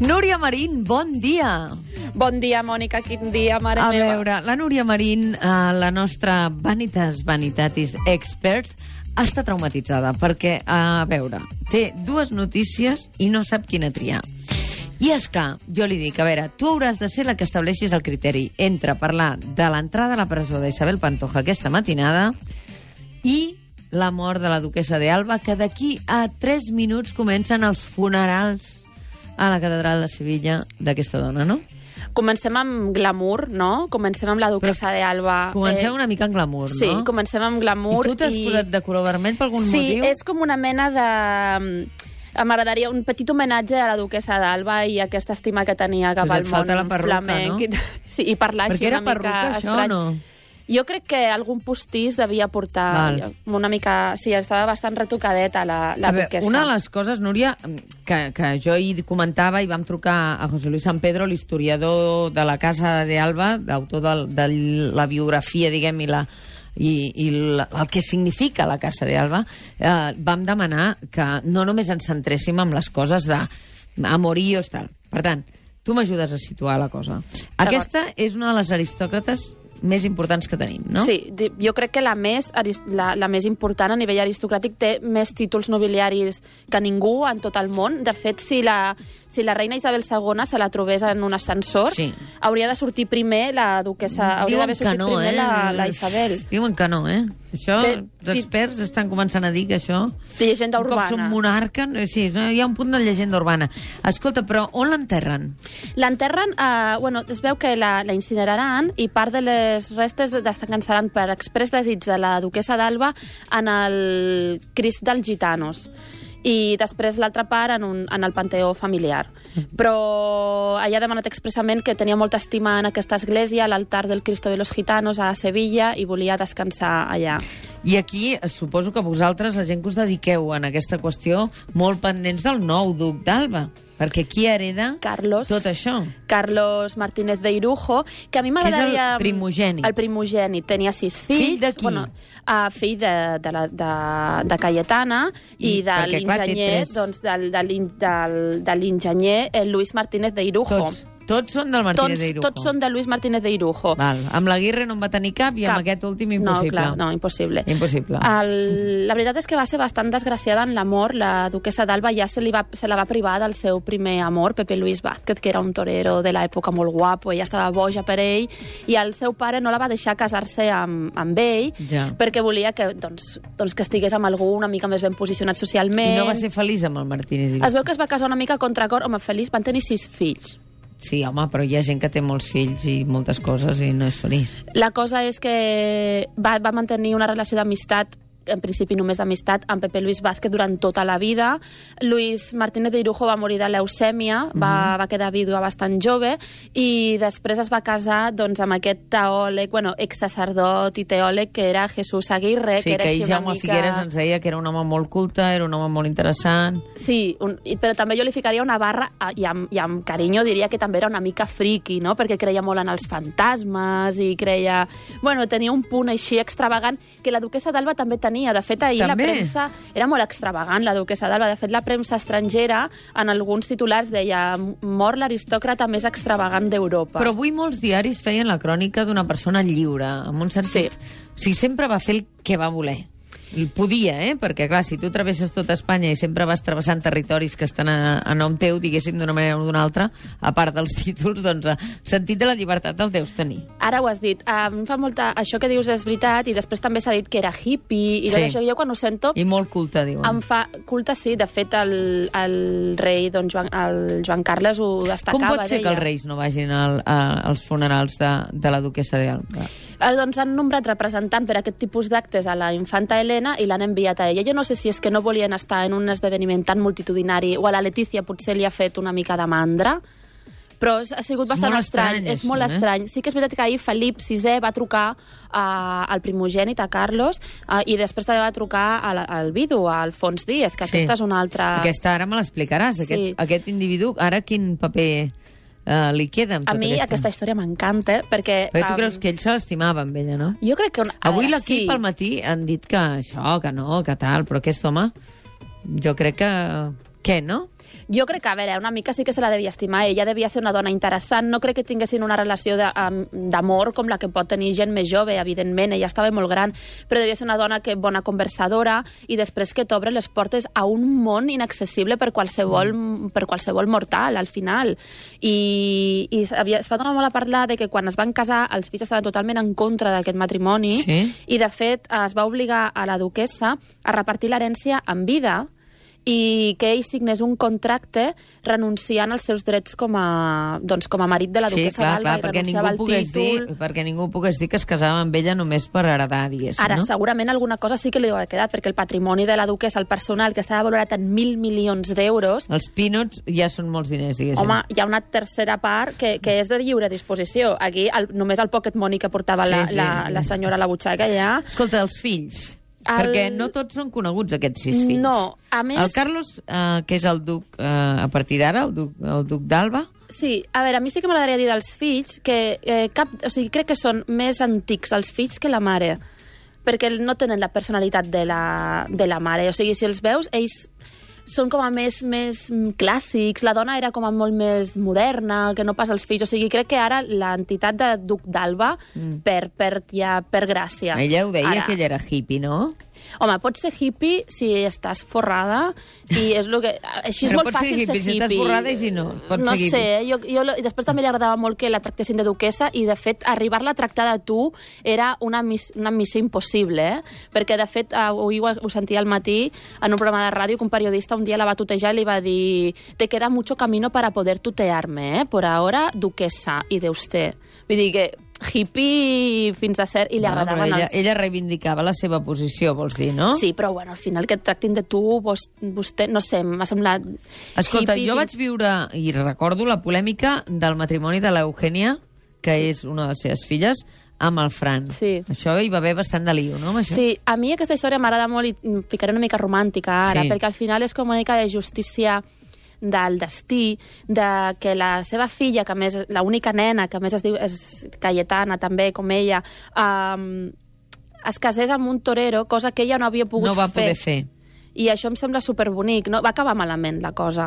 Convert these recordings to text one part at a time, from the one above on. Núria Marín, bon dia. Bon dia, Mònica, quin dia, mare A meva. veure, la Núria Marín, eh, la nostra vanitas vanitatis expert, està traumatitzada perquè, eh, a veure, té dues notícies i no sap quina triar. I és que jo li dic, a veure, tu hauràs de ser la que estableixis el criteri entre parlar de l'entrada a la presó d'Isabel Pantoja aquesta matinada i la mort de la duquesa d'Alba, que d'aquí a 3 minuts comencen els funerals a la catedral de Sevilla d'aquesta dona, no? Comencem amb glamour, no? Comencem amb la duquesa de Alba. Comencem una mica en glamour, Ah, eh, Sí, no? comencem amb glamour. I tu t'has posat de color vermell per algun sí, motiu? és com una mena de... mm, M'agradaria un petit homenatge a la duquesa d'Alba i aquesta estima que tenia cap Però et al món falta la perruca, flamenc. no? Sí, i parlar Perquè així era una mica perruca, això, estrany. o no? Jo crec que algun postís devia portar Val. una mica... Sí, estava bastant retocadeta la, la A veure, duquesa. una de les coses, Núria, que, que jo hi comentava i vam trucar a José Luis San Pedro, l'historiador de la Casa de Alba, autor del, de la biografia, diguem, i, la, i, i la, el que significa la Casa de Alba, eh, vam demanar que no només ens centréssim en les coses de amoríos, tal. Per tant, tu m'ajudes a situar la cosa. Aquesta és una de les aristòcrates més importants que tenim, no? Sí, di- jo crec que la més, aris- la, la més important a nivell aristocràtic té més títols nobiliaris que ningú en tot el món. De fet, si la, si la reina Isabel II se la trobés en un ascensor, Sí. hauria de sortir primer la duquesa... Ah, Hauria d'haver sortit primer eh? la, la Isabel. Diuen que no, eh? Això, Que- els experts estan començant a dir que això... De llegenda un urbana. cop són monarca, no- sí, no, hi ha un punt de llegenda urbana. Escolta, però on l'enterren? L'enterren, eh, bueno, es veu que la, la incineraran i part de les restes de- descansaran per express desig de la duquesa d'Alba en el Crist dels Gitanos i després l'altra part en, un, en el panteó familiar. Però allà ha demanat expressament que tenia molta estima en aquesta església, a l'altar del Cristo de los Gitanos a Sevilla, i volia descansar allà. I aquí eh, suposo que vosaltres, la gent que us dediqueu en aquesta qüestió, molt pendents del nou duc d'Alba, perquè qui hereda Carlos. tot això? Carlos Martínez de Irujo, que a mi és el m'agradaria... mm, primogènit. El primogènit. Tenia sis fills. Fill de qui? Bueno, uh, fill de, de, la, de, de Cayetana i, I- de perquè, clar, té l'enginyer, tres. doncs, del, de l'in- del- de l'enginyer eh, Luis Martínez de Irujo. Tots, tots són del Martínez de Tots, Irujo. tots són de Luis Martínez de Irujo. Val. Amb la Guirre no en va tenir cap i Cap. amb aquest últim No, impossible. clar, no, impossible. Impossible. El, la veritat és que va ser bastant desgraciada en l'amor. La duquesa d'Alba ja se, li va, se la va privar del seu primer amor, Pepe Luis Vázquez, que era un torero de l'època molt guapo, ella estava boja per ell, i el seu pare no la va deixar casar-se amb, amb ell, Ja. perquè volia que, doncs, doncs que estigués amb algú una mica més ben posicionat I socialment. no va ser feliç amb el Martínez de Irujo. Es veu que es va casar una mica a contracor. Home, feliç, van tenir sis fills. Sí, home, però hi ha gent que té molts fills i moltes coses i no és feliç. La cosa és que va, va mantenir una relació d'amistat en principi només d'amistat, amb Pepe Luis Vázquez durant tota la vida. Luis Martínez de Irujo va morir de leucèmia, Mhm. va, va quedar vídua bastant jove i després es va casar doncs, amb aquest teòleg, bueno, exsacerdot i teòleg que era Jesús Aguirre. sí, Eh, que, era que així ahir una Jaume mica... Figueres ens deia que era un home molt culte, era un home molt interessant. Sí, un, i- però també jo li ficaria una barra a- i amb, i amb carinyo diria que també era una mica friki, no? Perquè creia molt en els fantasmes i creia... Bueno, tenia un punt així extravagant que la duquesa d'Alba també tenia. De fet, ahir També? la premsa... Era molt extravagant, la duquesa d'Alba. De fet, la premsa estrangera, en alguns titulars, deia mor l'aristòcrata més extravagant d'Europa. Però avui molts diaris feien la crònica d'una persona lliure, amb un sentit... Sí. O sigui, sempre va fer el que va voler. I Podia, eh? Perquè, clar, si tu travesses tota Espanya i sempre vas travessant territoris que estan a, a nom teu, diguéssim, d'una manera o d'una altra, a part dels títols, doncs eh, el sentit de la llibertat el deus tenir. Ara ho has dit. A mi em fa molta... Això que dius és veritat i després també s'ha dit que era hippie i tot Sí. això. Jo quan ho sento... I molt culte, diuen. Em fa culte, sí. De fet, el, el rei, doncs, Joan, el Joan Carles ho destacava. Com pot ser deia. que els reis no vagin al, a, als funerals de, de la duquesa d'Alba? Eh, doncs han nombrat representant per aquest tipus d'actes a la infanta Helena i l'han enviat a ella. Jo no sé si és que no volien estar en un esdeveniment tan multitudinari o a la Letícia potser li ha fet una mica de mandra, però és- ha sigut És bastant molt estrany. estrany, és això, molt eh? estrany. Sí que és veritat que ahir Felip VI va trucar eh, al primogènit, a Carlos, eh, i després també va trucar al, al vidu, a Alfons Díez, que Sí. aquesta és una altra... Aquesta ara me l'explicaràs. Sí. Aquest, aquest individu, ara quin paper eh, li queda amb A tot mi aquesta? aquesta història m'encanta, perquè... Perquè Eh, tu em, creus que ell se l'estimava amb ella, no? Jo crec que... Un... a Avui veure, l'equip al matí han dit que això, que no, que tal, però aquest home jo crec que Què, no? Jo crec que, a veure, una mica sí que se la devia estimar. Ella devia ser una dona interessant. No crec que tinguessin una relació de- am- d'amor com la que pot tenir gent més jove, evidentment. Ella estava molt gran, però devia ser una dona que bona conversadora i després que t'obre les portes a un món inaccessible per Mm. qualsevol, per qualsevol mortal, al final. I, i havia, es va donar molt a parlar de que quan es van casar els fills estaven totalment en contra d'aquest matrimoni Sí. i, de fet, es va obligar a la duquessa a repartir l'herència en vida i que ell signés un contracte renunciant als seus drets com a, doncs, com a marit de la sí, duquessa clar, d'Alba clar, i perquè renunciava ningú, al pogués títol. dir, perquè ningú pogués dir que es casava amb ella només per heredar, diguéssim, Ara, no? segurament alguna cosa sí que li deu haver quedat, perquè el patrimoni de la duquessa, el personal, que estava valorat en mil milions d'euros, Els pinots ja són molts diners, diguéssim. Home, hi ha una tercera part que, que és de lliure disposició. Aquí el, només el pocket money que portava Sí, sí, la, sí. sí. La, la senyora a la butxaca ja... Escolta, els fills. El... El- Perquè no tots són coneguts, aquests sis fills. No, a més- El Carlos, eh, que és el duc, eh, a partir d'ara, el duc, el duc d'Alba, Sí, a veure, a mi sí que m'agradaria dir dels fills que eh, cap... O sigui, crec que són més antics els fills que la mare perquè no tenen la personalitat de la, de la mare. O sigui, si els veus, ells són com a més, més mm, clàssics, la dona era com a molt més moderna, que no pas els fills. O sigui, crec que ara l'entitat de Duc d'Alba mm. perd, perd, ja, per gràcia. ella ho deia Ara. que ella era hippie, no? Home, pots ser hippie si estàs forrada i és lo que... Així és Però molt pots ser fàcil hippie si ser estàs hippie. forrada i si no, pots no ser hippie. sé, jo, jo, lo- i després també li agradava molt que la tractessin de duquesa i, de fet, arribar-la a tractar de tu era una, mis una missió impossible, eh? Perquè, de fet, avui ho, ho sentia al matí en un programa de ràdio que un periodista un dia la va tutejar i li va dir te queda mucho camino para poder tutearme, eh? Por ahora, duquesa. I de usted. Vull dir que hippie fins a cert... I li No, però agradaven ella, els... ella reivindicava la seva posició, vols dir, no? Sí, però bueno, al final que et tractin de tu, vos, vostè, no sé, m'ha semblat... Escolta, hippie jo vaig dins- viure, i recordo la polèmica del matrimoni de l'Eugènia, que és una de les seves filles, amb el Fran. Sí. Això hi va haver bastant de lío, no? Amb això? Sí, a mi aquesta història m'agrada molt i em ficaré una mica romàntica ara, Sí. sí. perquè al final és com una mica de justícia del destí, de que la seva filla, que a més, l'única nena, que a més es diu és Cayetana també, com ella, um, es casés amb un torero, cosa que ella no havia pogut no va fer. poder fer. I això em sembla superbonic, no? Va acabar malament, la cosa.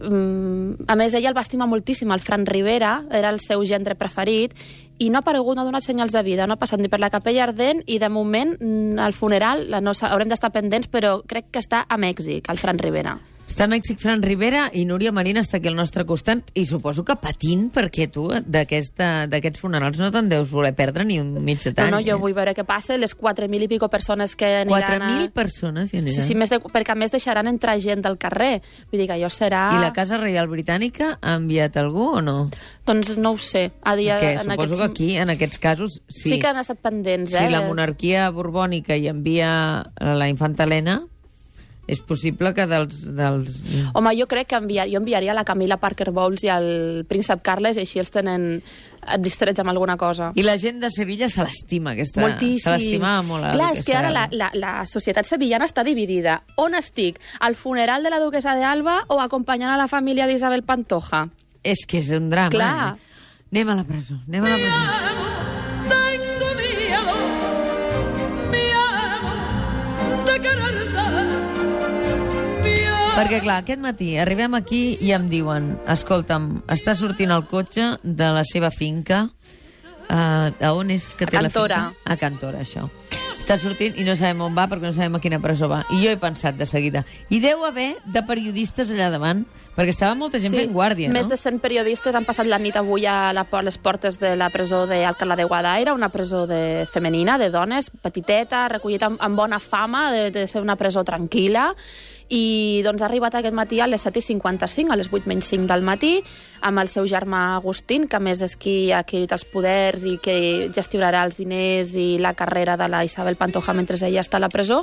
Mm, a més, ella el va estimar moltíssim, el Fran Rivera, era el seu gendre preferit, i no ha aparegut, no ha donat senyals de vida, no ha passat ni per la capella ardent, i de moment, mm, al funeral, la no, sa- haurem d'estar pendents, però crec que està a Mèxic, el Fran Rivera. Està a Mèxic, Fran Rivera, i Núria Marina està aquí al nostre costat, i suposo que patint, perquè tu d'aquesta- d'aquests funerals no te'n deus voler perdre ni un mig de eh? tant. No, no, jo vull veure què passa, les 4.000 i pico persones que aniran 4.000 a... persones eh? hi Sí, aniran. sí, més de, perquè a més deixaran entrar gent del carrer. Vull dir que allò serà... I la Casa Reial Britànica ha enviat algú o no? Doncs no ho sé. A dia, que en suposo aquests... que aquí, en aquests casos, sí. Sí. que han estat pendents, eh? Si la de- monarquia borbònica hi envia a la infanta Helena, és possible que dels... dels... Home, jo crec que enviar, jo enviaria la Camila Parker Bowles i el príncep Carles i així els tenen distrets amb alguna cosa. I la gent de Sevilla se l'estima, aquesta... Moltíssim. Se l'estimava molt. la Clar, és que duquessa ara la, d'Alba. la, la societat sevillana està dividida. On estic? Al funeral de la duquesa d'Alba o acompanyant a la família d'Isabel Pantoja? És que és un drama. Clar. Eh? Anem a la presó, anem a la presó. Tengo miedo, miedo de quererte. Miedo. Perquè, clar, aquest matí arribem aquí i em diuen escolta'm, està sortint el cotxe de la seva finca uh, a on és que A té Cantora. la finca? A Cantora, això. Està sortint i no sabem on va perquè no sabem a quina presó va. I jo he pensat de seguida. I deu haver de periodistes allà davant, perquè estava molta gent fent guàrdia, Més no? de 100 periodistes han passat la nit avui a la, por- les portes de la presó d'Alcalá de Guadaira, una presó de, femenina, de dones, petiteta, recollida amb, amb bona fama, de, de ser una presó tranquil·la, i doncs ha arribat aquest matí a les 7.55, a les 8 menys 5 del matí, amb el seu germà Agustín, que a més és qui ha adquirit els poders i que gestionarà els diners i la carrera de la Isabel Pantoja mentre ella està a la presó.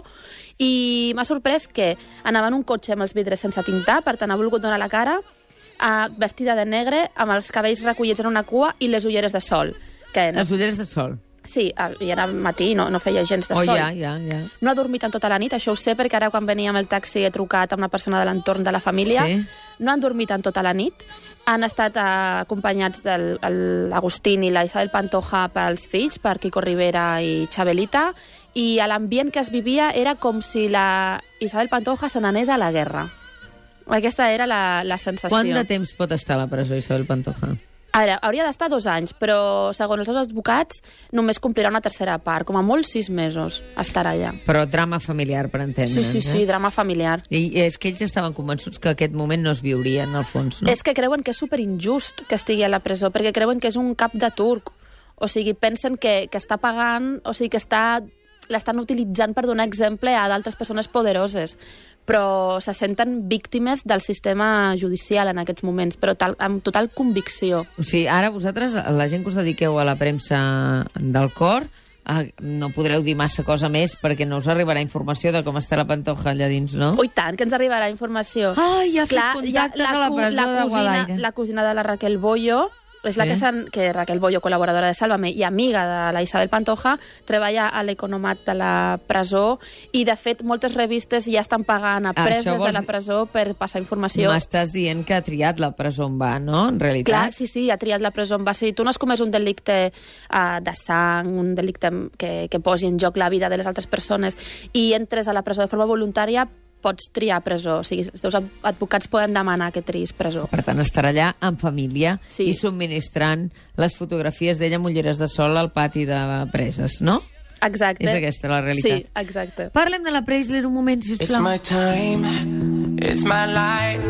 I m'ha sorprès que anava en un cotxe amb els vidres sense tintar, per tant ha volgut donar la cara, eh, vestida de negre, amb els cabells recollits en una cua i les ulleres de sol. Que no, Les ulleres de sol. sí, el- i era matí, no, no feia gens de oh, sol. ja, ja, ja. No ha dormit en tota la nit, això ho sé, perquè ara quan venia amb el taxi he trucat amb una persona de l'entorn de la família. Sí. No han dormit en tota la nit. Han estat eh, acompanyats de l'Agustín i la Isabel Pantoja pels fills, per Quico Rivera i Xabelita, i a l'ambient que es vivia era com si la Isabel Pantoja se n'anés a la guerra. Aquesta era la, la sensació. Quant de temps pot estar a la presó Isabel Pantoja? Ara, hauria d'estar dos anys, però segons els seus advocats només complirà una tercera part, com a molt sis mesos estarà allà. Però drama familiar, per entendre'ns, Sí, sí, sí, Eh? drama familiar. I és que ells estaven convençuts que aquest moment no es viuria, en el fons, no? És que creuen que és superinjust que estigui a la presó, perquè creuen que és un cap de turc. O sigui, pensen que, que està pagant, o sigui, que està l'estan utilitzant per donar exemple a d'altres persones poderoses, però se senten víctimes del sistema judicial en aquests moments, però tal, amb total convicció. O sigui, ara vosaltres, la gent que us dediqueu a la premsa del cor, eh, no podreu dir massa cosa més perquè no us arribarà informació de com està la Pantoja allà dins, no? Oh, i tant, que ens arribarà informació. Ai, ha Clar, fet hi ha contacte a la cu- presó la de Guadaira. cosina, la cosina de la Raquel Bollo, és Sí. la que, s'han- que Raquel Bollo, col·laboradora de Sálvame i amiga de la Isabel Pantoja, treballa a l'economat de la presó i, de fet, moltes revistes ja estan pagant a Ah, Això preses vols de la dir- presó per passar informació. M'estàs dient que ha triat la presó on va, no? En Clar, realitat. sí, sí, ha triat la presó on va ser. Tu no has comès un delicte uh, de sang, un delicte que, que posi en joc la vida de les altres persones i entres a la presó de forma voluntària, pots triar presó. O sigui, els teus ad- advocats poden demanar que tris presó. Per tant, estarà allà en família Sí. i subministrant les fotografies d'ella amb ulleres de sol al pati de preses, no? Exacte. És aquesta la realitat. Sí, exacte. Parlem de la Preisler un moment, It's sisplau. my time, it's my life.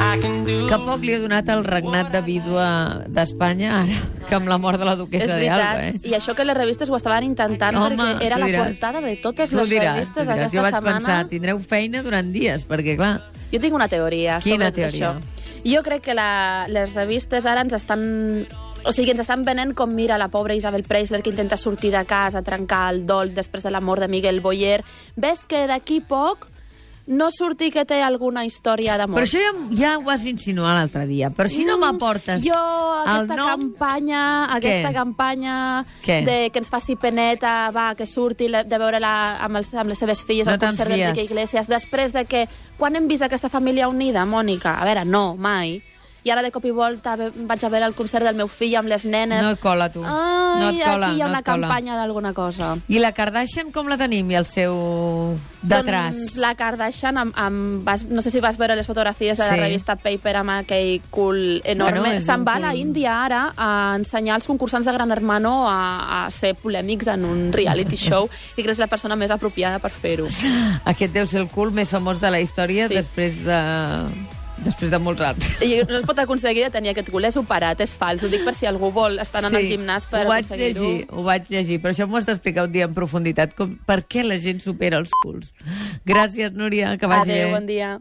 I can do Que poc li ha donat el regnat de vídua d'Espanya, ara, que amb la mort de la És duquesa de Alba, veritat, eh? i això que les revistes ho estaven intentant Home, perquè era tu la diràs. portada de totes Tu les ho diràs, tu ho revistes diràs. aquesta Jo vaig setmana. pensar, tindreu feina durant dies, perquè, clar, Jo tinc una teoria Quina sobre teoria? tot això. Jo crec que la, les revistes ara ens estan... O sigui, ens estan venent com mira la pobra Isabel Preisler que intenta sortir de casa, trencar el dol després de la mort de Miguel Boyer. Ves que d'aquí poc no surti que té alguna història d'amor. Però això ja, ja ho vas insinuar l'altre dia. Però si no Mm, m'aportes Jo, el aquesta nom... campanya, aquesta campanya Què? de que ens faci peneta, va, que surti la, de veure-la amb, els, amb les seves filles No al te'n concert fies. d'Enrique Iglesias, després de que... Quan hem vist aquesta família unida, Mònica? A veure, no, mai. I ara de cop i volta ve- vaig a veure el concert del meu fill amb les nenes. No et cola, tu. Ai, no et cola, aquí hi ha no una et cola. campanya d'alguna cosa. I la Kardashian com la tenim? I el seu detrás? Doncs la Kardashian, amb, amb, vas, no sé si vas veure les fotografies de sí. Sí. la revista Paper amb aquell cul Bueno, enorme. Bueno, és Se'n un va cul- a la Índia ara a ensenyar als concursants de Gran Hermano a, a ser polèmics en un reality show i que és la persona més apropiada per fer-ho. Aquest deu ser el cul més famós de la història Sí. després de... després de molts altres. I no es pot aconseguir de tenir aquest cul, és operat, és fals. Ho dic per si algú vol estar anant al gimnàs per ho vaig aconseguir-ho. llegir, ho vaig llegir, però això m'ho has d'explicar un dia en profunditat, com, per què la gent supera els culs. Gràcies, Núria, que vagi Adéu, bé. bon dia.